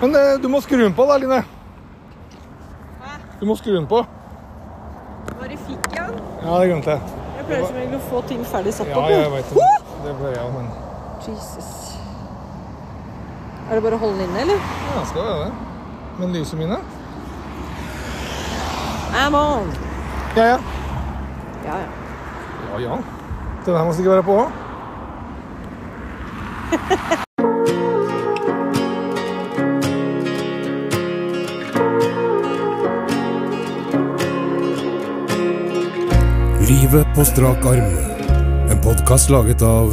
Men eh, du må skru den på da, Line. Hæ? Du må skru den på. Bare fikk jeg den? Ja, det glemte jeg. Jeg pleier som regel å få ting ferdig satt Ja, opp. jeg vet det. Det ble jeg, men Jesus. Er det bare å holde den inne, eller? ja, skal være det. Men lyset mine? I'm on! Ja, ja. Ja, ja. Ja, ja. Den her må sikkert være på òg. Livet på strak arm. En podkast laget av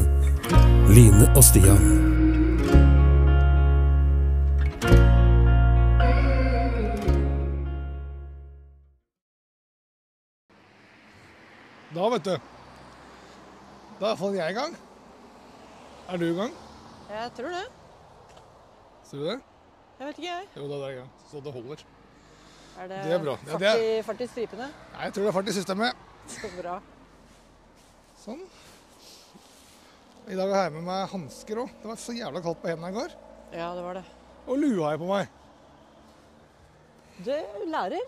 Line og Stian. Da, vet du. Da er iallfall jeg i gang. Er du i gang? Jeg tror det. Ser du det? Jeg vet ikke, jeg. Jo, da er jeg i gang. Så det holder. Er det, Det er bra. Ja, fart, det er- i, fart i stripene? Nei, jeg tror det er fart i systemet. Så bra. Sånn. I dag har jeg med meg hansker òg. Det var så jævla kaldt på hendene i går. Ja, det var det. Og lue har jeg på meg. Du lærer.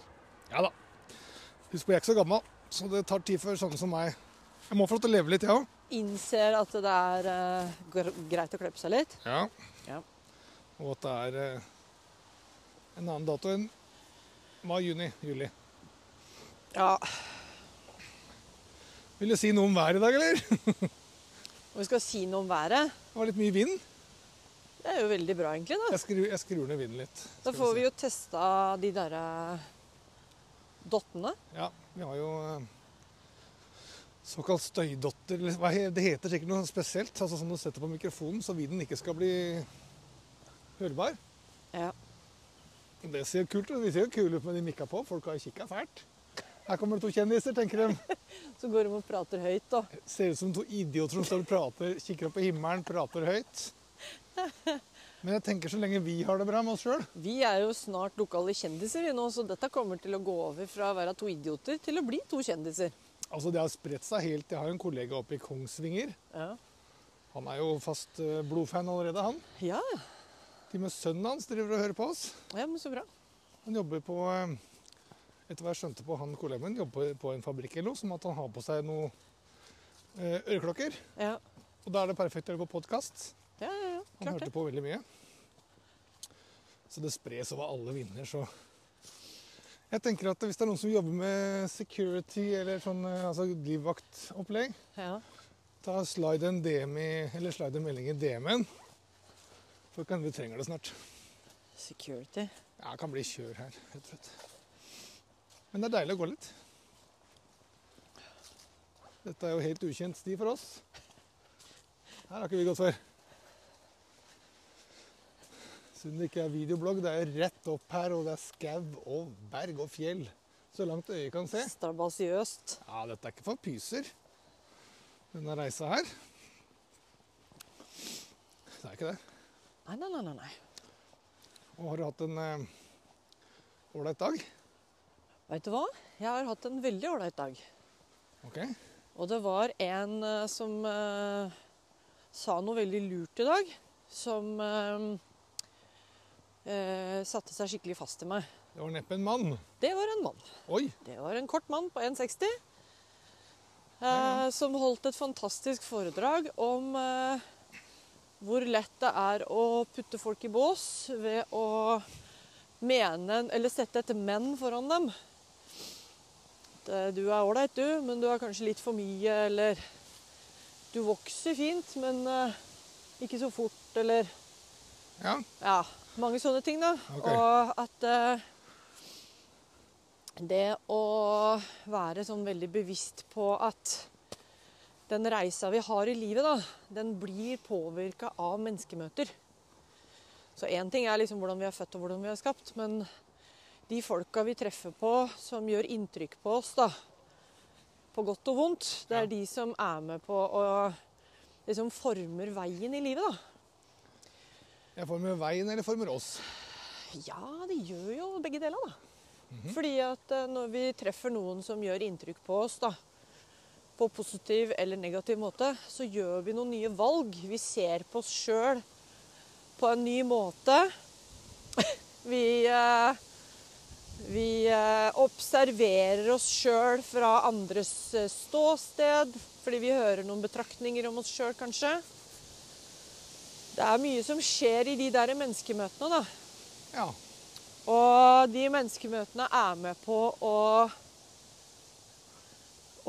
Ja da. Husk på, jeg er ikke så gammel, så det tar tid før sånne som meg Jeg må få lov til å leve litt, jeg òg. Innser at det er eh, gr- greit å klippe seg litt. Ja. Ja. Og at det er eh, en annen dato enn mai, juni, juli. Ja. Vil du si noe om været i dag, eller? Og vi skal si noe om været. Det var litt mye vind. Det er jo veldig bra, egentlig. da. Jeg skrur, jeg skrur ned vinden litt. Da skal får vi se. jo testa de derre dottene. Ja, vi har jo eh, såkalt støydotter. eller hva he- Det heter sikkert noe spesielt. altså Som du setter på mikrofonen, så vinden ikke skal bli hørbar. Ja. Det ser jo kult ut. Vi ser jo kule ut med de mikka på. Folk har jo kikka fælt. Her kommer det to kjendiser, tenker de. Så går de og prater høyt, da. Ser ut som to idioter som står og prater, kikker opp på himmelen, prater høyt. Men jeg tenker så lenge vi har det bra med oss sjøl. Vi er jo snart lokale kjendiser vi nå, så dette kommer til å gå over fra å være to idioter til å bli to kjendiser. Altså, det har spredt seg helt. Jeg har jo en kollega oppe i Kongsvinger. Ja. Han er jo fast eh, blodfan allerede, han. Ja, Til og med sønnen hans driver og hører på oss. ja men så bra. Han jobber på eh, Etter hva jeg skjønte på han kollegaen min, jobber på en fabrikk eller noe, som at han har på seg noen øreklokker. Ja, Og da er det perfekt å høre på podkast. ja, ja. ja. Han Klart hørte det. på veldig mye. Så det spres over alle vinder, så Jeg tenker at hvis det er noen som jobber med security eller sånn eh, altså livvaktopplegg, Ja. ta slide en DM i, eller slide en melding i DM-en. For kan, vi trenger det snart. Security. Ja, det kan bli kjør her, rett og slett. Men det er deilig å gå litt. Dette er jo helt ukjent sti for oss. Her har ikke vi gått før. Siden det ikke er videoblogg, det er jo rett opp her, og det er skau og berg og fjell. Så langt øyet kan se. Strabasiøst. Ja, dette er ikke for pyser, denne reisa her. Det er ikke det. Nei, nei, nei, nei, nei. Og har du hatt en eh, ålreit dag? Vet du hva? Jeg har hatt en veldig ålreit dag. Ok. Og det var en eh, som eh, sa noe veldig lurt i dag, som eh, eh, satte seg skikkelig fast til meg. Det var neppe en mann. Det var en mann. Oi, Det var en kort mann på 1,60 eh, Ja, som holdt et fantastisk foredrag om eh, hvor lett det er å putte folk i bås ved å mene en- eller sette et men foran dem. At, eh, Du er ålreit, du, men du er kanskje litt for mye, eller Du vokser fint, men eh, ikke så fort, eller ja. ja, mange sånne ting, da. Ok. Og at eh, det å være sånn veldig bevisst på at den reisa vi har i livet, da, den blir påvirka av menneskemøter. Så én ting er liksom hvordan vi er født og hvordan vi er skapt, men de folka vi treffer på som gjør inntrykk på oss, da, på godt og vondt, det er Ja. de som er med på å liksom former veien i livet, da. Jeg former veien eller former oss. Ja, det gjør jo begge deler, da. Fordi at eh, når vi treffer noen som gjør inntrykk på oss, da, på positiv eller negativ måte, så gjør vi noen nye valg. Vi ser på oss sjøl på en ny måte. Vi, eh, vi eh, observerer oss sjøl fra andres eh, ståsted, fordi vi hører noen betraktninger om oss sjøl, kanskje. Det er mye som skjer i de der menneskemøtene, da. Ja. Og de menneskemøtene er med på å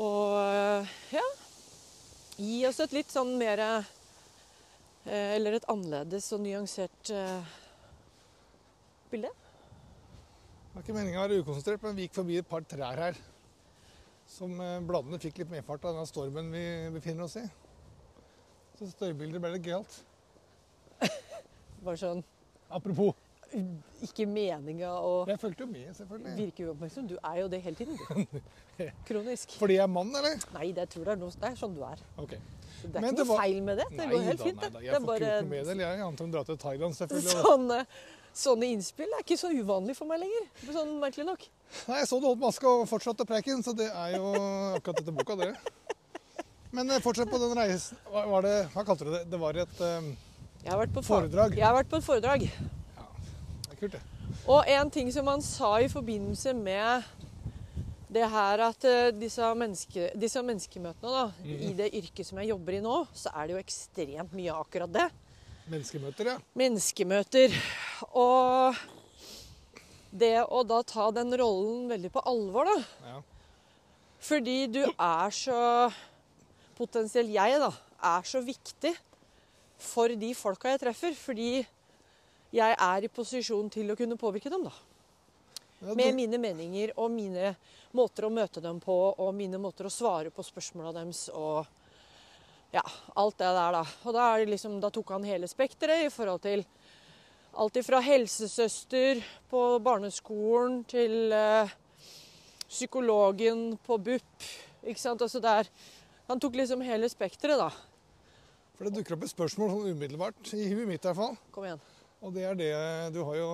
Å ja gi oss et litt sånn mer eh, Eller et annerledes og nyansert eh, bilde. Det var ikke meninga å være ukonsentrert, men vi gikk forbi et par trær her. Som eh, bladene fikk litt medfart av denne stormen vi befinner oss i. Så støybildet ble litt gøyalt. Bare sånn Apropos, ikke meninga og jeg fulgte jo med, selvfølgelig. virke uoppmerksom. Du er jo det hele tiden, du. Kronisk. Fordi jeg er mann, eller? Nei, det tror jeg er noe, det er sånn du er. Ok. Så Det er Men ikke det noe var- feil med det. Det går helt fint, det. da. Det Jeg er får bare kult med det. Jeg antar hun drar til Thailand, selvfølgelig. sånne, sånne innspill er ikke så uvanlig for meg lenger. Sånn merkelig nok. Nei, jeg så du holdt maske og fortsatte preiken, så det er jo akkurat dette boka, det. Men eh, fortsett på den reisen. Hva, var det, hva kalte du det? Det var et eh, Jeg har vært på fa- foredrag. Jeg har vært på et foredrag. Det er kult, det. Og en ting som han sa i forbindelse med det her at eh, disse, menneske, disse menneskemøtene, da, i det yrket som jeg jobber i nå, så er det jo ekstremt mye av akkurat det. Menneskemøter, ja. Menneskemøter. Og det å da ta den rollen veldig på alvor, da. ja. Fordi du er så Potensielt jeg, da. Er så viktig for de folka jeg treffer. Fordi jeg er i posisjon til å kunne påvirke dem, da. Ja, Med du- mine meninger og mine måter å møte dem på, og mine måter å svare på spørsmåla deres og ja, alt det der, da. Og da, er det liksom, da tok han hele spekteret i forhold til alt ifra helsesøster på barneskolen til eh, psykologen på BUP. Ikke sant? Altså der Han tok liksom hele spekteret, da. For det dukker opp et spørsmål sånn umiddelbart, i huet mitt i hvert fall. Kom igjen. Og det er det du har jo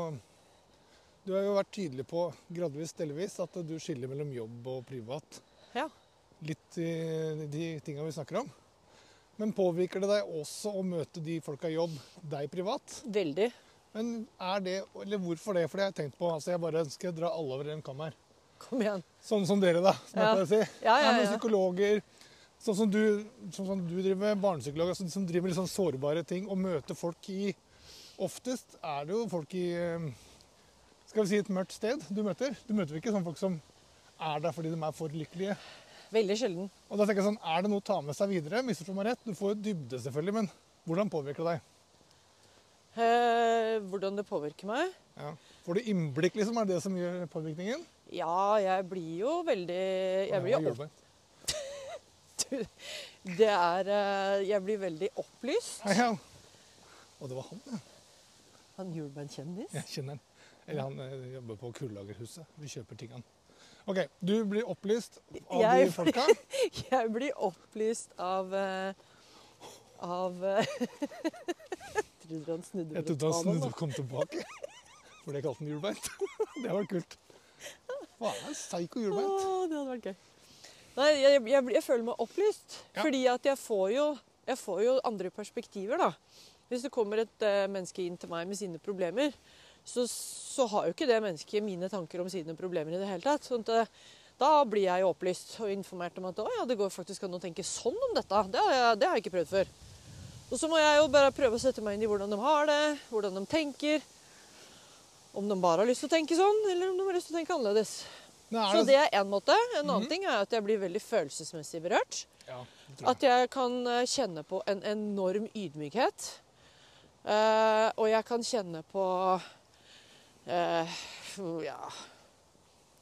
Du har jo vært tydelig på, gradvis delvis, at du skiller mellom jobb og privat. Ja. Litt i de tinga vi snakker om. Men påvirker det deg også å møte de folka i jobb, deg privat? Veldig. Men er det, eller hvorfor det? For det har jeg tenkt på. altså Jeg bare ønsker å dra alle over en kam her. Kom igjen. Sånn som dere, da. som Ja. jeg pleier å si. Ja, ja, Nei, men ja. Psykologer. Sånn som du, sånn som du driver med, barnepsykologer altså, som driver med litt sånn sårbare ting og møter folk i Oftest er det jo folk i eh, skal vi si et mørkt sted du møter. Du møter jo ikke sånne folk som er der fordi de er for lykkelige. Veldig sjelden. Og da tenker jeg sånn, Er det noe å ta med seg videre? Misforstå meg rett, du får jo dybde, selvfølgelig, men hvordan påvirker det deg? Eh, hvordan det påvirker meg? Ja. Får du innblikk, liksom? Er det det som gjør påvirkningen? Ja, jeg blir jo veldig Jeg blir, Ja, jo jobbe. opp, det er, eh, jeg blir veldig opplyst. Ja, ja. Og det var han, ja. Han gjorde meg en kjendis. Jeg kjenner han. Eller han eh, jobber på kullagerhuset. Vi kjøper ting han. OK, du blir opplyst av Jeg de folka. Jeg blir opplyst av eh, Av eh, Jeg trodde han snudde Jeg rundt trodde han banen, da. snudde og kom tilbake. For det kalte han hjulbeint. Det var kult. Hva er en psycho hjulbeint? Åh, det hadde vært gøy. Nei, jeg, jeg, blir- jeg føler meg opplyst. Ja. Fordi at jeg får, jo, jeg får jo andre perspektiver, da. Hvis det kommer et eh, menneske inn til meg med sine problemer, så, så har jo ikke det mennesket mine tanker om sine problemer i det hele tatt. Sånn at, eh, da blir jeg jo opplyst og informert om at å ja, det går faktisk an å tenke sånn om dette. Det har jeg, det har jeg ikke prøvd før. Og så må jeg jo bare prøve å sette meg inn i hvordan de har det, hvordan de tenker. Om de bare har lyst til å tenke sånn, eller om de har lyst til å tenke annerledes. Nå Så er Mhm. det er én måte. En annen ting er at jeg blir veldig følelsesmessig berørt. ja, det tror jeg. At jeg kan eh, kjenne på en enorm ydmykhet. Eh, og jeg kan kjenne på eh, ja.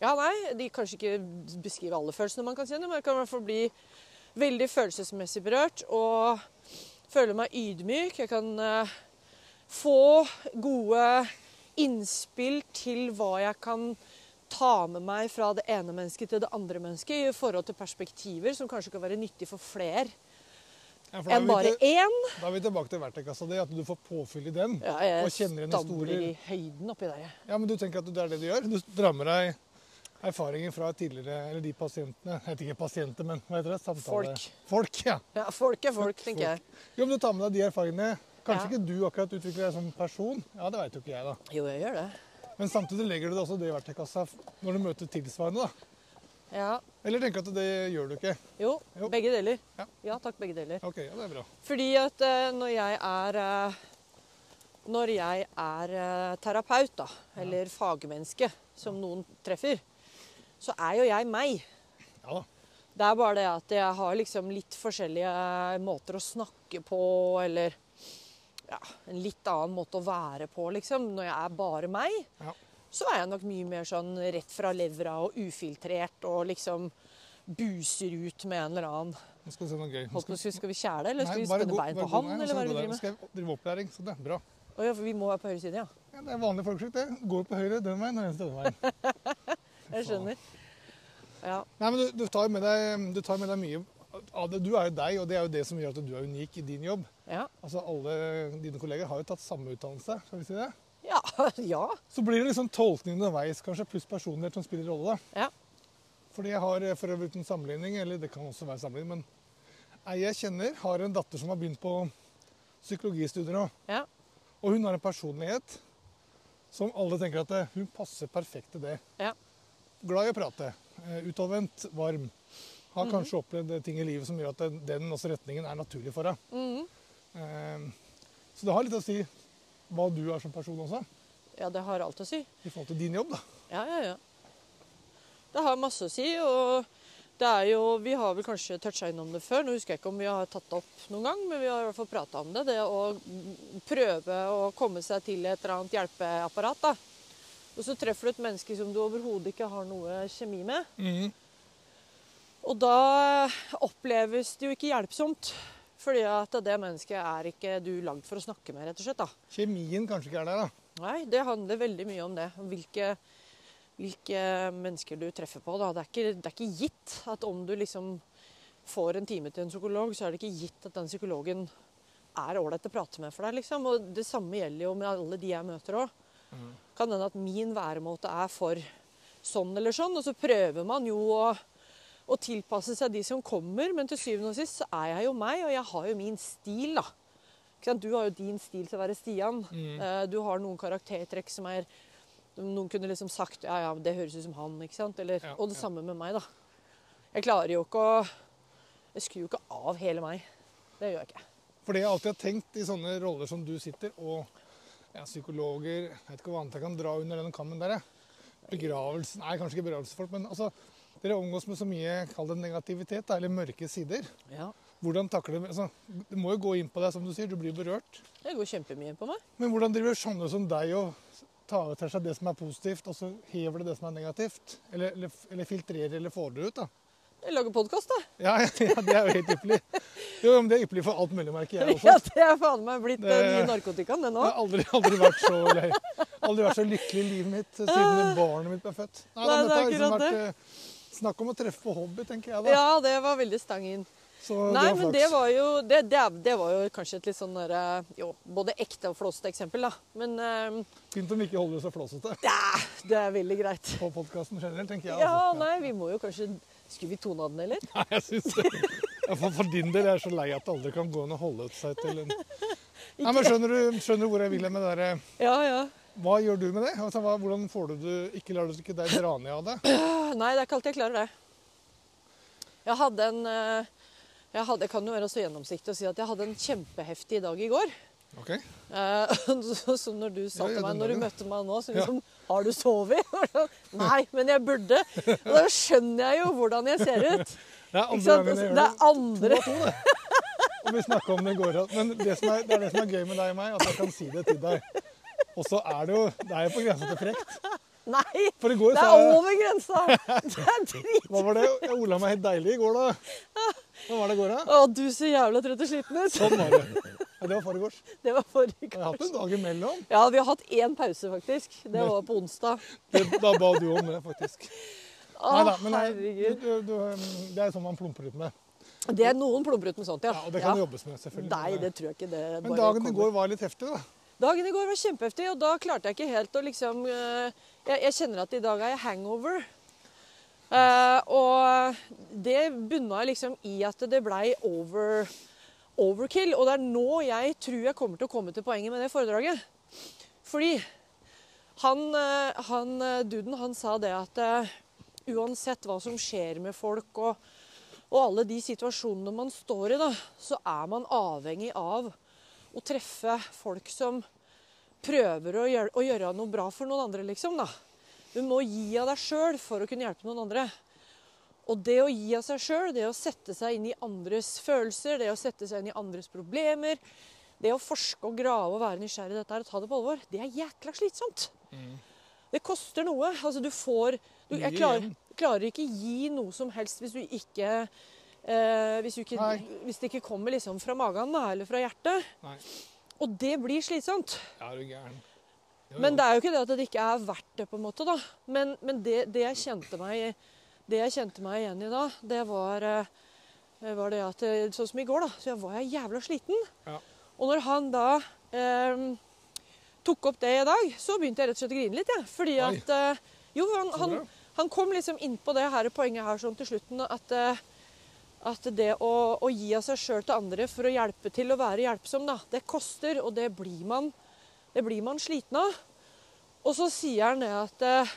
ja, nei, de kanskje ikke beskriver alle følelsene man kan kjenne, men jeg kan i hvert fall bli veldig følelsesmessig berørt og føle meg ydmyk. Jeg kan eh, få gode innspill til hva jeg kan ta med meg fra det ene mennesket til det andre mennesket i forhold til perspektiver som kanskje kan være nyttig for flere Ja, for da, er enn vi bare til, én. da er vi tilbake til verktøykassa di, at du får påfyll i den. Ja, Og jeg kjenner igjen stabler i historier. høyden oppi der. jeg. Ja, Men du tenker at det er det du gjør? Du drar med deg erfaringer fra tidligere Eller de pasientene Jeg heter ikke pasienter, men hva heter det? Samtale... Folk. Folk, ja. Ja, folk er folk, tenker jeg. Jo, men du tar med deg de erfaringene Kanskje Ja. ikke du akkurat utvikler deg som person, ja, det veit jo ikke jeg, da. Jo, jeg gjør det. Men samtidig legger du det også i det i verktøykassa f- når du møter tilsvarende, da. Ja. Eller tenker du at det gjør du ikke? Jo, Jo. begge deler. Ja. Ja takk, begge deler. Ok, ja, det er bra. Fordi at eh, når jeg er eh, Når jeg er eh, terapeut, da, eller fagmenneske, som noen treffer, så er jo jeg meg. Ja da. Det er bare det at jeg har liksom litt forskjellige eh, måter å snakke på, eller ja, en litt annen måte å være på, liksom. Når jeg er bare meg, Ja. så er jeg nok mye mer sånn rett fra levra og ufiltrert og liksom buser ut med en eller annen Nå skal vi se noe gøy. Nå Holdt på å si, Skal vi kjæle, eller skal Nei, vi bare spenne gå- bein bare på gå han, ned, eller så hva er det gå vi der. driver med? Skal jeg drive opplæring, så det er bra. Å ja, for vi må være på høyre side, ja. Ja, det er vanlig folkeskikk, det. Går på høyre den veien og venstre denne veien. Jeg skjønner. Ja, Nei, men du, du, tar jo med deg, du tar med deg mye av det. Du er jo deg, og det er jo det som gjør at du er unik i din jobb. ja. Altså, Alle dine kolleger har jo tatt samme utdannelse, skal vi si det. Ja, ja. Så blir det liksom tolkning underveis, kanskje, pluss personlighet som spiller rolle. da. ja. Fordi jeg har, eh, for øvrig uten sammenligning, eller det kan også være sammenligning, men ei jeg kjenner, har en datter som har begynt på psykologistudier nå. ja. Og hun har en personlighet som alle tenker at eh, hun passer perfekt til det. ja. Glad i å prate. eh, Utadvendt, varm. Har kanskje opplevd eh, ting i livet som gjør at den- den også retningen er naturlig for henne. Mhm. Eh, Så det har litt å si hva du er som person også, ja det har alt å si. i forhold til din jobb. da. Ja, ja, ja. Det har masse å si, og det er jo Vi har vel kanskje toucha innom det før. Nå husker jeg ikke om vi har tatt det opp noen gang, men vi har i hvert fall prata om det. Det å mm, prøve å komme seg til et eller annet hjelpeapparat, da. Og så treffer du et menneske som du overhodet ikke har noe kjemi med. Og da oppleves det jo ikke hjelpsomt. Fordi at det mennesket er ikke du lagd for å snakke med, rett og slett. da. Kjemien kanskje ikke er der, da. Nei, det handler veldig mye om det. om Hvilke, hvilke mennesker du treffer på. Da. Det, er ikke, det er ikke gitt at om du liksom får en time til en psykolog, så er det ikke gitt at den psykologen er ålreit å prate med for deg. Liksom. Og det samme gjelder jo med alle de jeg møter òg. Mhm. Kan hende at min væremåte er for sånn eller sånn, og så prøver man jo å å tilpasse seg de som kommer, men til syvende og sist så er jeg jo meg, og jeg har jo min stil, da. Ikke sant? Du har jo din stil til å være Stian. Mhm. Eh, Du har noen karaktertrekk som er Noen kunne liksom sagt ja, ja, det høres ut som han. ikke sant? Eller, Ja, og det ja. samme med meg, da. Jeg klarer jo ikke å Jeg skrur jo ikke av hele meg. Det gjør jeg ikke. For det jeg alltid har tenkt i sånne roller som du sitter, og ja, psykologer Jeg vet ikke hva annet jeg kan dra under den kammen der. jeg. Begravelsen Nei, kanskje ikke begravelsesfolk, men altså Dere omgås med så mye kall det negativitet, da, eller mørke sider. Ja. Hvordan takler du altså, Det må jo gå inn på deg, som du sier. Du blir berørt. Det går kjempemye på meg. Men hvordan driver sånne som deg og tar til seg det som er positivt, og så hever det det som er negativt? Eller, eller, eller filtrerer eller får det ut, da? Jeg lager podkast, da. Ja, ja, det er jo helt ypperlig. Jo, men det er ypperlig for alt mulig, merker jeg også. Ja, det er faen meg blitt den nye Det- narkotikaen, det nå. Jeg har aldri, aldri, vært så, lei. aldri vært så lykkelig i livet mitt siden barnet mitt ble født. Nei, Nei, men det er dette har akkurat det. vært, eh, Snakk om å treffe på hobby, tenker jeg da. Ja, det var veldig stang inn. Så Nei, var men flaks. det var jo det, det, er- det var jo kanskje et litt sånn derre Jo, både ekte og flåsete eksempel, da. Men eh, Fint om vi ikke holder oss så flåsete det er veldig greit. på podkasten generelt, tenker jeg. Ja, altså. nei, vi må jo kanskje Skulle vi tona den, eller? Nei, jeg synes det. Ja, For, for din del er jeg så lei at det aldri kan gå an å holde seg til en Nei, men skjønner du, skjønner du hvor jeg vil hen med det derre Ja, ja. Hva gjør du med det? Altså, hva, hvordan får du det Ikke lar du ikke deg dra ned av det? Nei, det er ikke alltid jeg klarer det. Jeg hadde en eh, jeg, hadde, jeg kan jo være så gjennomsiktig og si at jeg hadde en kjempeheftig dag i går. Ok? Eh, så- Som når du sa Ja, ja, til meg den når du dagen. møtte meg nå, så Ja. liksom Har du sovet? Og sånn, Nei, men jeg burde. Og da skjønner jeg jo hvordan jeg ser ut. Det er Ikke andre sant? Altså, gangen jeg gjør Det det. er andre Og vi snakket om det i går. at- Men det, som er, det er det som er gøy med deg og meg, at jeg kan si det til deg. Og så er det jo Det er jo på grensa til frekt. Nei! For i går Det sa er jeg over grensa! Det er drit... Hva var det? Jeg ola meg helt deilig i går, da. Hva var det i går, da? Å, du ser jævla trøtt og sliten ut. Sånn var det. Ja, det var forgårs. Jeg Det var forrige har hatt gang. en dag imellom. Ja, vi har hatt én pause, faktisk. Det var på onsdag. Det, da ba du om det, faktisk. Å, Nei da, men eh, nei, du, herregud. du, du, um, det er sånn man plumper ut med. Det er noen plumper ut med sånt, ja. Ja, og det kan Ja. det jobbes med, selvfølgelig. Nei, det tror jeg ikke. Det Men bare dagen i kommer. går var litt heftig, da. Dagen i går var kjempeheftig, og da klarte jeg ikke helt å liksom eh, Jeg, jeg kjenner at i dag er jeg hangover. Eh, og det bunna liksom i at det blei over overkill. Og det er nå jeg tror jeg kommer til å komme til poenget med det foredraget. Fordi han, eh, han eh, duden, han sa det at eh, uansett hva som skjer med folk og, og alle de situasjonene man står i, da, så er man avhengig av å treffe folk som prøver å gjøre, å gjøre noe bra for noen andre, liksom. da. Du må gi av deg sjøl for å kunne hjelpe noen andre. Og det å gi av seg sjøl, det å sette seg inn i andres følelser, det å sette seg inn i andres problemer, det å forske og grave og være nysgjerrig i dette her og ta det på alvor, det er jækla slitsomt. Det koster noe. Altså, du får du, Jeg Mm. Mye klarer, igjen. klarer ikke gi noe som helst hvis du ikke eh, hvis, du ikke Nei. hvis det ikke kommer liksom fra magen da, eller fra hjertet. Nei. Og det blir slitsomt. Ja, er du gæren. Jo, Men jo. det er jo ikke det at det ikke er verdt det, på en måte. da. Men, men det, det, jeg kjente meg, det jeg kjente meg igjen i da, det var, eh, var det at eh, Sånn som i går, da. Så jeg var jeg jævla sliten. Ja. Og når han da eh, tok opp det i dag, så begynte jeg rett og slett å grine litt, jeg. Fordi Oi. at eh, Jo, han, Så han, bra. han kom liksom inn på det her poenget her sånn til slutten at eh, at det å, å gi av seg sjøl til andre for å hjelpe til å være hjelpsom, da, det koster, og det blir man, det blir man sliten av. Og så sier han det at eh,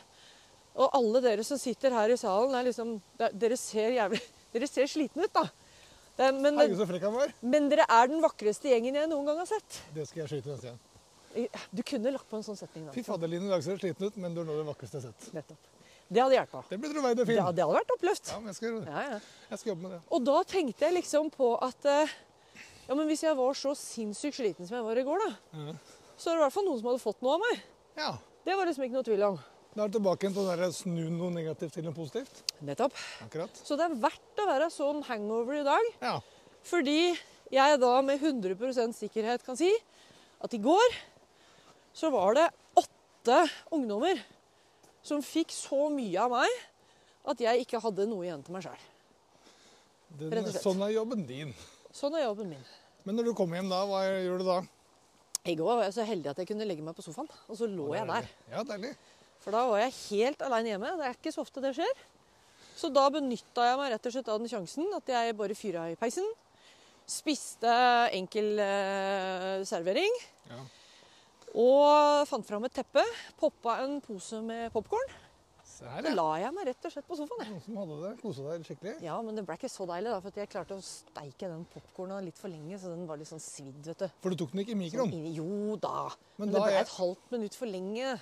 Og alle dere som sitter her i salen, er liksom det- Dere ser jævlig Dere ser slitne ut, da. Det, er- men, Herregud, det, så frekk han var. men dere er den vakreste gjengen jeg noen gang har sett. Det skal jeg skyte neste igjen. Du kunne lagt på en sånn setning. da. Fy fader, Line, i dag ser du sliten ut, men du er nå det vakreste jeg har sett. Nettopp. Det hadde hjulpet. Det blir troverdig Det, film. hadde- det hadde vært oppløft. Ja, men jeg skal gjøre det. Ja, ja. Jeg skal jobbe med det. Og da tenkte jeg liksom på at eh, ja, men hvis jeg var så sinnssykt sliten som jeg var i går, da, Mhm. så er det i hvert fall noen som hadde fått noe av meg. Ja. Det var liksom ikke noe tvil om. Da er du tilbake igjen til det der snu noe negativt til noe positivt. Nettopp. Akkurat. Så det er verdt å være sånn hangover i dag, Ja. fordi jeg da med 100 sikkerhet kan si at i går så var det åtte ungdommer som fikk så mye av meg at jeg ikke hadde noe igjen til meg sjøl. Den, Rett og slett. sånn er jobben din. Sånn er jobben min. Men når du kommer hjem da, hva gjør du da? I går var jeg så heldig at jeg kunne legge meg på sofaen, og så lå jeg der. Ja, deilig. For da var jeg helt aleine hjemme. Det er ikke så ofte det skjer. Så da benytta jeg meg rett og slett av den sjansen at jeg bare fyra i peisen. Spiste enkel eh, servering. Ja. Og fant fram et teppe. Poppa en pose med popkorn. Se her, Så ja. la jeg meg rett og slett på sofaen. jeg. Noen som hadde det. Kosa deg skikkelig. Ja, men det ble ikke så deilig, da, for at jeg klarte å steike den popkornen litt for lenge. Så den var litt sånn svidd, vet du. For du tok den ikke i mikroen. Sånn, jo da. Men Men da det ble er- et halvt minutt for lenge.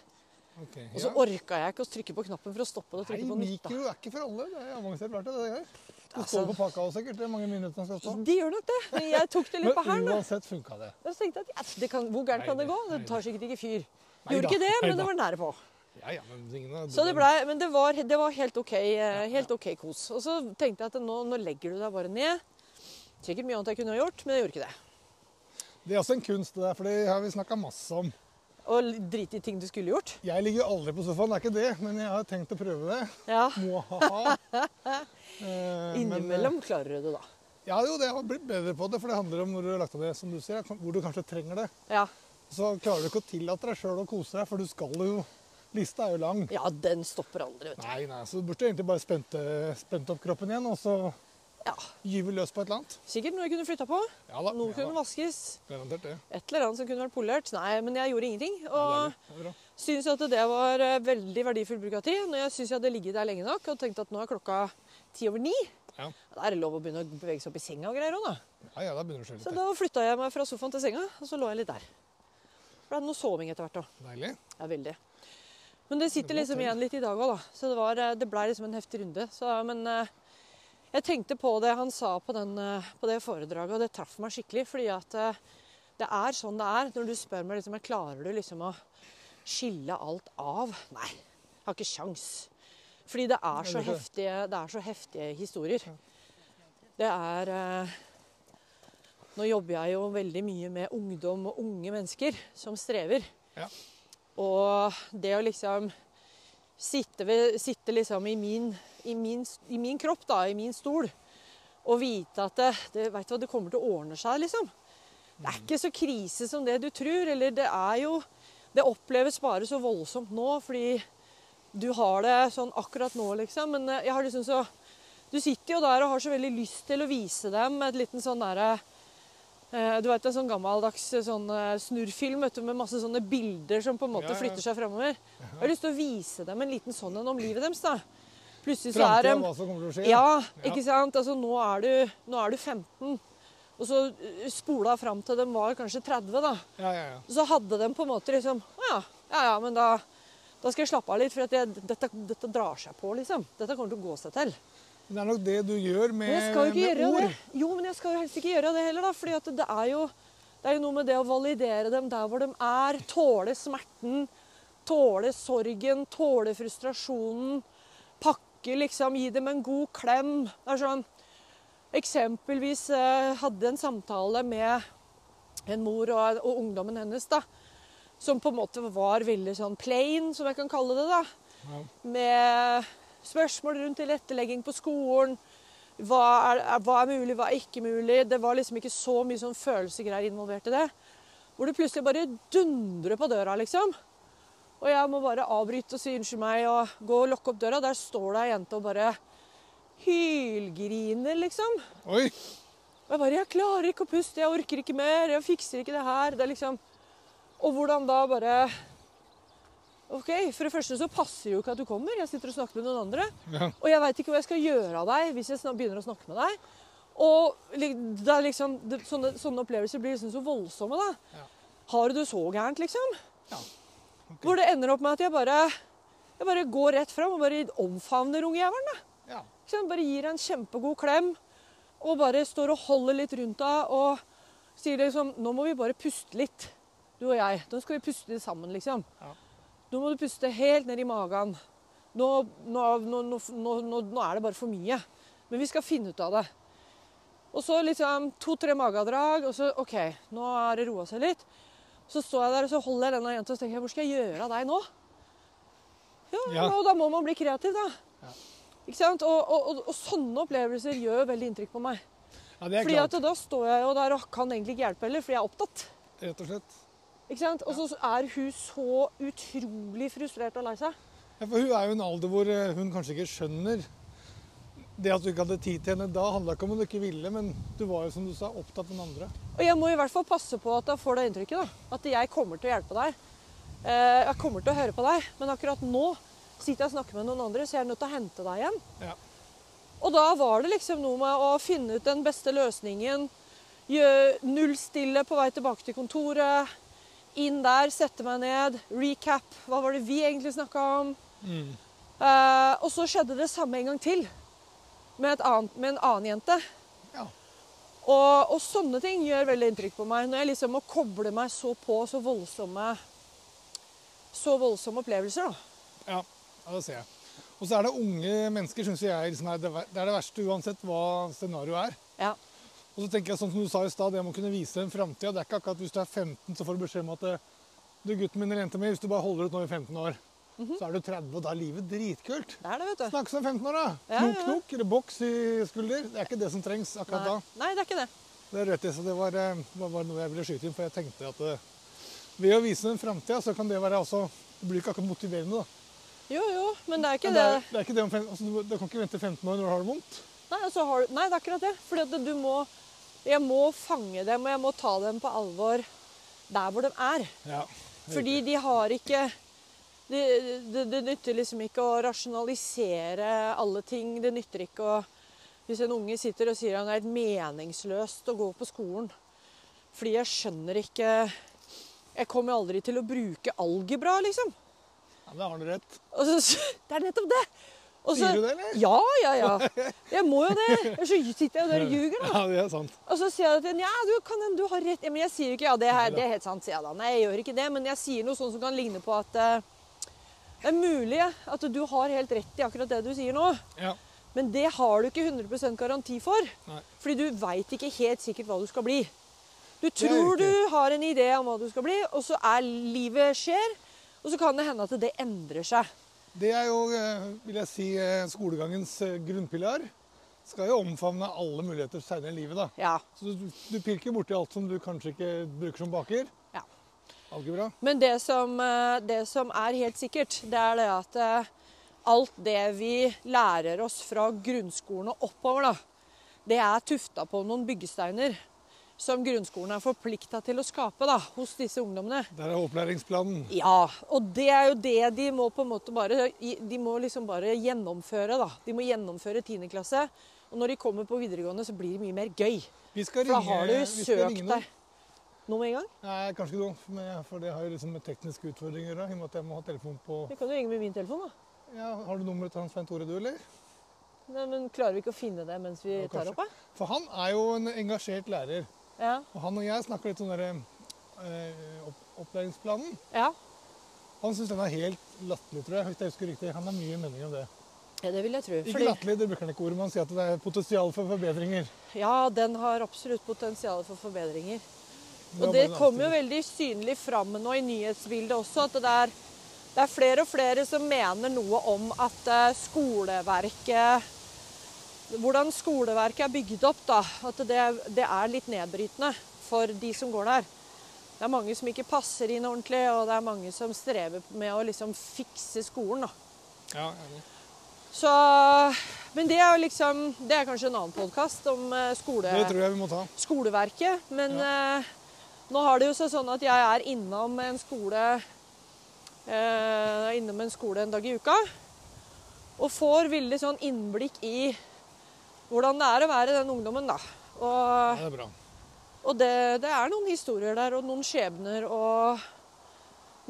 Ok, Og så ja. orka jeg ikke å trykke på knappen for å stoppe det og Nei, trykke på nytt. da. mikro er ikke for alle. Det er avansert verktøy, det der. Du Altså- står på pakka også, sikkert. Det er mange minutter den skal stå. De gjør nok det. Men jeg tok det litt på Sånn. Men hælen. da. uansett funka det. Og Så tenkte jeg at ja, det kan, hvor gærent kan Nei, det gå? det- Det nei, tar sikkert ikke fyr. Nei Gjorde da, ikke det, nei men da. det var nære på. Ja, ja, men tingene er Så dumme. det, ble, men det, var, det var helt ok, eh, helt ok kos. Og så tenkte jeg at nå, nå legger du deg bare ned. Sikkert mye annet jeg kunne ha gjort, men jeg gjorde ikke det. Det er også en kunst, det der, for det har vi snakka masse om. Og l- drit i ting du skulle gjort. Jeg ligger aldri på sofaen, det er ikke det, men jeg har tenkt å prøve det. Ja, Mwahaha. Eh, men, eh, Innimellom klarer du det, da. Ja, jo, det har blitt bedre på det, for det handler om når du har lagt av det, som du sier, hvor du kanskje trenger det. Ja, Så klarer du ikke å tillate deg sjøl å kose deg, for du skal jo Lista er jo lang. ja den stopper aldri, vet du. Nei, nei, så du burde egentlig bare spente, spente opp kroppen igjen, og så Ja, gyve løs på et eller annet. Sikkert noe jeg kunne flytta på. Ja da. Noe ja kunne da. vaskes. Garantert det. Et eller annet som kunne vært polert. Nei, men jeg gjorde ingenting. Ja, Og deilig. det er bra. Syns at det var eh, veldig verdifull bruk av tid. Når jeg syns jeg hadde ligget der lenge nok og tenkt at nå er klokka ti over ni, Ja. da er det lov å begynne å bevege seg opp i senga og greier òg, da. Ja, ja, da begynner du å Så skjønne litt. da flytta jeg meg fra sofaen til senga, og så lå jeg litt der. For det er noe soving etter hvert òg. Deilig. Ja, veldig. Men det sitter Det var liksom tøft. igjen litt i dag òg, da. Så det, var, eh, det ble liksom en heftig runde. Så, men eh, jeg tenkte på det han sa på, den, eh, på det foredraget, og det traff meg skikkelig. Fordi at eh, det er sånn det er når du spør meg liksom, klarer du liksom å skille alt av. Nei, jeg har ikke sjans. Fordi det er så det er det. heftige, det er så heftige historier. Det er eh, Nå jobber jeg jo veldig mye med ungdom og unge mennesker som strever. Ja. Og det å liksom sitte, ved, sitte liksom i min, i, min, i min kropp, da, i min stol, og vite at det, det, vet du hva, det kommer til å ordne seg, liksom. Det er ikke så krise som det du tror. Eller det er jo Det oppleves bare så voldsomt nå fordi du har det sånn akkurat nå, liksom. Men eh, jeg har liksom så Du sitter jo der og har så veldig lyst til å vise dem et liten sånn derre Eh, Du vet, det er sånn gammeldags eh, sånn eh, snurrfilm vet du, med masse sånne bilder som på en Ja, måte ja. flytter seg fremover. Jeg har lyst til å vise dem en liten sånn en om livet deres. da. Plutselig så er Framtida, de hva som kommer til å skje. Ja, Ja. ikke sant? Altså, nå er du, nå er du 15, og så eh, spola fram til de var kanskje 30, da. Ja, ja, ja. Og så hadde de på en måte liksom «Å Ja, ja, ja, men da, da skal jeg slappe av litt, for at jeg, dette, dette drar seg på, liksom. Dette kommer til å gå seg til. Men Det er nok det du gjør med, Men jeg skal jo ikke med gjøre ord. det. Jo, men jeg skal jo helst ikke gjøre det heller, da. For det, er jo- det er jo noe med det å validere dem der hvor de er. Tåle smerten. Tåle sorgen. Tåle frustrasjonen. Pakke, liksom. Gi dem en god klem. Det er sånn Eksempelvis eh, hadde jeg en samtale med en mor og, og ungdommen hennes, da. Som på en måte var veldig sånn plain, som jeg kan kalle det, da Ja. med spørsmål rundt tilrettelegging på skolen. Hva er, er, hva er mulig, hva er ikke mulig? Det var liksom ikke så mye sånn følelsesgreier involvert i det. Hvor det plutselig bare dundrer på døra, liksom. Og jeg må bare avbryte og si unnskyld meg og gå og lukke opp døra. Der står det ei jente og bare hylgriner, liksom. Oi! Og jeg bare Jeg klarer ikke å puste, jeg orker ikke mer, jeg fikser ikke det her. Det er liksom Og hvordan da bare OK, for det første så passer jo ikke at du kommer. Jeg sitter og snakker med noen andre. Ja. Og jeg veit ikke hva jeg skal gjøre av deg hvis jeg snak- begynner å snakke med deg. Og li- det er liksom, det, sånne, sånne opplevelser blir liksom så voldsomme, da. Ja. Har du det så gærent, liksom? Ja. Ok. Hvor det ender opp med at jeg bare, jeg bare går rett fram og bare omfavner ungjævelen, da. Ja. Ikke sant? Bare gir en kjempegod klem, og bare står og holder litt rundt deg og sier liksom Nå må vi bare puste litt, du og jeg. Nå skal vi puste litt sammen, liksom. Ja. Nå må du puste helt ned i magen. Nå, nå, nå, nå, nå, nå, nå er det bare for mye. Men vi skal finne ut av det. Og så liksom to-tre magedrag, og så OK, nå har det roa seg litt. Så står jeg der og så holder jeg denne jenta og så tenker jeg, hvor skal jeg gjøre av deg nå? Ja, Ja. Og da må man bli kreativ, da. Ja. Ikke sant? Og, og, og, og sånne opplevelser gjør veldig inntrykk på meg. ja, det er Fordi klart. at da står jeg jo der og kan egentlig ikke hjelpe heller, fordi jeg er opptatt. Rett og slett. Ikke sant? Og så er hun så utrolig frustrert og lei seg. Ja, for hun er jo i en alder hvor eh, hun kanskje ikke skjønner det at du ikke hadde tid til henne da, handla ikke om at du ikke ville, men du var jo som du sa, opptatt av den andre. Og jeg må i hvert fall passe på at jeg får det inntrykket, da. At jeg kommer til å hjelpe deg. Eh, Jeg kommer til å høre på deg. Men akkurat nå sitter jeg og snakker med noen andre, så jeg er nødt til å hente deg igjen. Ja. Og da var det liksom noe med å finne ut den beste løsningen. gjø- Nullstille på vei tilbake til kontoret. Inn der, sette meg ned. Recap. Hva var det vi egentlig snakka om? Mm. Eh, og så skjedde det samme en gang til. Med, et annet, med en annen jente. Ja. Og, og sånne ting gjør veldig inntrykk på meg. Når jeg liksom må koble meg så på så voldsomme så voldsomme opplevelser, da. Ja, ja det ser jeg. Og så er det unge mennesker, syns jeg liksom er det, ver- det er det verste, uansett hva scenarioet er. Ja. Og så tenker jeg sånn som du sa i stad, det må kunne vise en framtida. Det er ikke akkurat hvis du er 15, så får du beskjed om at eh, du, gutten min eller jenta mi, hvis du bare holder ut nå i 15 år, Mhm. så er du 30, og da er livet dritkult. Det er det, vet du. Snakkes om 15 år, da. Ja, Knok, ja. knok, eller boks i skulder. Det er ikke det som trengs akkurat Nei. da. Nei, det er ikke det. Det er rett i, så det var, eh, var var noe jeg ville skyte inn, for jeg tenkte at eh, ved å vise den framtida, så kan det være altså Det blir ikke akkurat motiverende, da. Jo, jo, men det er ikke Men det, det. er, det er ikke det om fem, altså, du, må- du kan ikke vente 15 år når du har det vondt. Nei, og så har du, nei, det er akkurat det. Fordi at du må Jeg må fange dem, og jeg må ta dem på alvor der hvor de er. Ja. Fordi de har ikke Det det- det nytter liksom ikke å rasjonalisere alle ting. Det nytter ikke å Hvis en unge sitter og sier han er helt meningsløst å gå på skolen fordi jeg skjønner ikke Jeg kommer aldri til å bruke algebra, liksom. ja, det har du rett. Og så, det er nettopp det! Og så- Sier du det, eller? Ja, ja, ja. Jeg må jo det. Ellers så sitter jeg jo der og ljuger, da. Ja, det er sant. Og så sier jeg til henne ja, du kan hende du har rett. Ja, men jeg sier jo ikke ja, det, her, det er helt sant, sier jeg da. Nei, jeg gjør ikke det, men jeg sier noe sånn som kan ligne på at eh, det er mulig at du har helt rett i akkurat det du sier nå, Ja. men det har du ikke 100 garanti for. Nei. Fordi du veit ikke helt sikkert hva du skal bli. Du er tror du riktig. har en idé om hva du skal bli, og så er livet skjer, og så kan det hende at det endrer seg. Det er jo, eh, vil jeg si, eh, skolegangens eh, grunnpilar. Skal jo omfavne alle muligheter senere i livet, da. Ja. Så du, du pirker borti alt som du kanskje ikke bruker som baker. ja. Algebra. Men det som, eh, det som er helt sikkert, det er det at eh, alt det vi lærer oss fra grunnskolen og oppover, da, det er tufta på noen byggesteiner. som grunnskolen er forplikta til å skape da, hos disse ungdommene. Der er opplæringsplanen. Ja, og det er jo det de må på en måte bare De må liksom bare gjennomføre, da. De må gjennomføre 10. klasse. Og når de kommer på videregående, så blir det mye mer gøy. Vi skal For da ringe, har du vi skal søkt ringe noen. deg Nå med en gang? Nei, kanskje ikke noe, men jeg- for det har jo liksom med tekniske utfordringer å gjøre. I og med at jeg må ha telefon på Vi kan jo ringe med min telefon, da. ja, Har du nummeret til han Svein Tore, du, eller? Nei, men klarer vi ikke å finne det mens vi Jo, tar kanskje. opp, da? For han er jo en engasjert lærer. Ja. Og han og jeg snakker litt om den eh, opp opplæringsplanen. ja. Han syns den er helt latterlig, tror jeg. hvis jeg husker riktig. Han har mye meninger om det. Ja, det vil jeg tro. Ikke latterlig, det bruker han ikke ordet. Man sier at det er potensial for forbedringer. ja, den har absolutt potensial for forbedringer. Men det Og det var bare en kommer jo annen veldig synlig fram nå i nyhetsbildet også, at det er, det er flere og flere som mener noe om at eh, skoleverket Hvordan skoleverket er bygd opp, da. At det, det er litt nedbrytende for de som går der. Det er mange som ikke passer inn ordentlig, og det er mange som strever med å liksom fikse skolen. da. Ja, enig. Så, men det er jo liksom Det er kanskje en annen podkast om eh, skole Det tror jeg vi må ta. skoleverket. Men eh, nå har det jo seg sånn at jeg er innom en skole eh, innom en skole en dag i uka. Og får veldig sånn innblikk i hvordan det er å være den ungdommen, da. Ja, Og, det er bra. og det, det er noen historier der, og noen skjebner og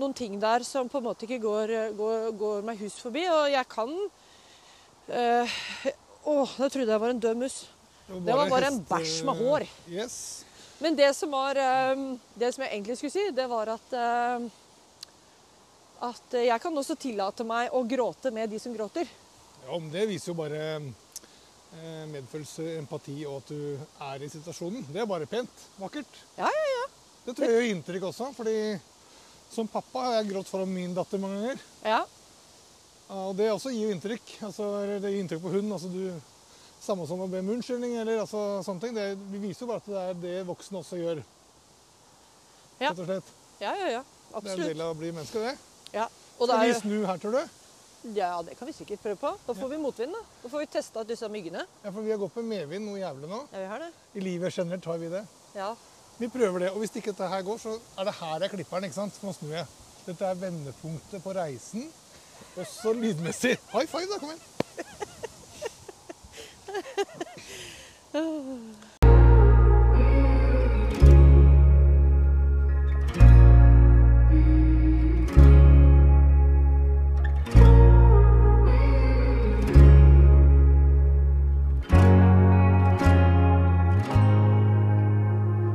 noen ting der som på en måte ikke går, går, går meg hus forbi. Og jeg kan eh, Å, nå trodde jeg var en død mus. Det var bare en hest- eh, bæsj med hår. Yes. Men det som var ehm, Det som jeg egentlig skulle si, det var at ehm, At jeg kan også tillate meg å gråte med de som gråter. Ja, men det viser jo bare eh, medfølelse, empati og at du er i situasjonen. Det er bare pent. Vakkert. Ja, ja, ja. Det tror jeg gjør inntrykk også, fordi som pappa har jeg grått foran min datter mange ganger. Ja, Ja, Og det også gir jo inntrykk. Altså, eller det gir inntrykk på hunden. Altså, du, samme som å be om unnskyldning eller altså, sånne ting. Det, vi viser jo bare at det er det voksne også gjør. Ja. Rett og slett. ja, ja. ja. Det er en Absolutt. del av å bli menneske, det. Ja. Og det Skal er, vi jo- snu her, tror du? ja, det kan vi sikkert prøve på. Da får vi motvind, da. Da får vi testa ut disse myggene. Ja, for vi har gått med medvind noe jævlig nå. Ja, vi har det. I livet generelt har vi det. Ja. Vi prøver det, og hvis ikke dette her går, så er det her jeg klipper den, ikke sant? Så nå snur jeg. Dette er vendepunktet på reisen, også lydmessig. High five da, kom igjen.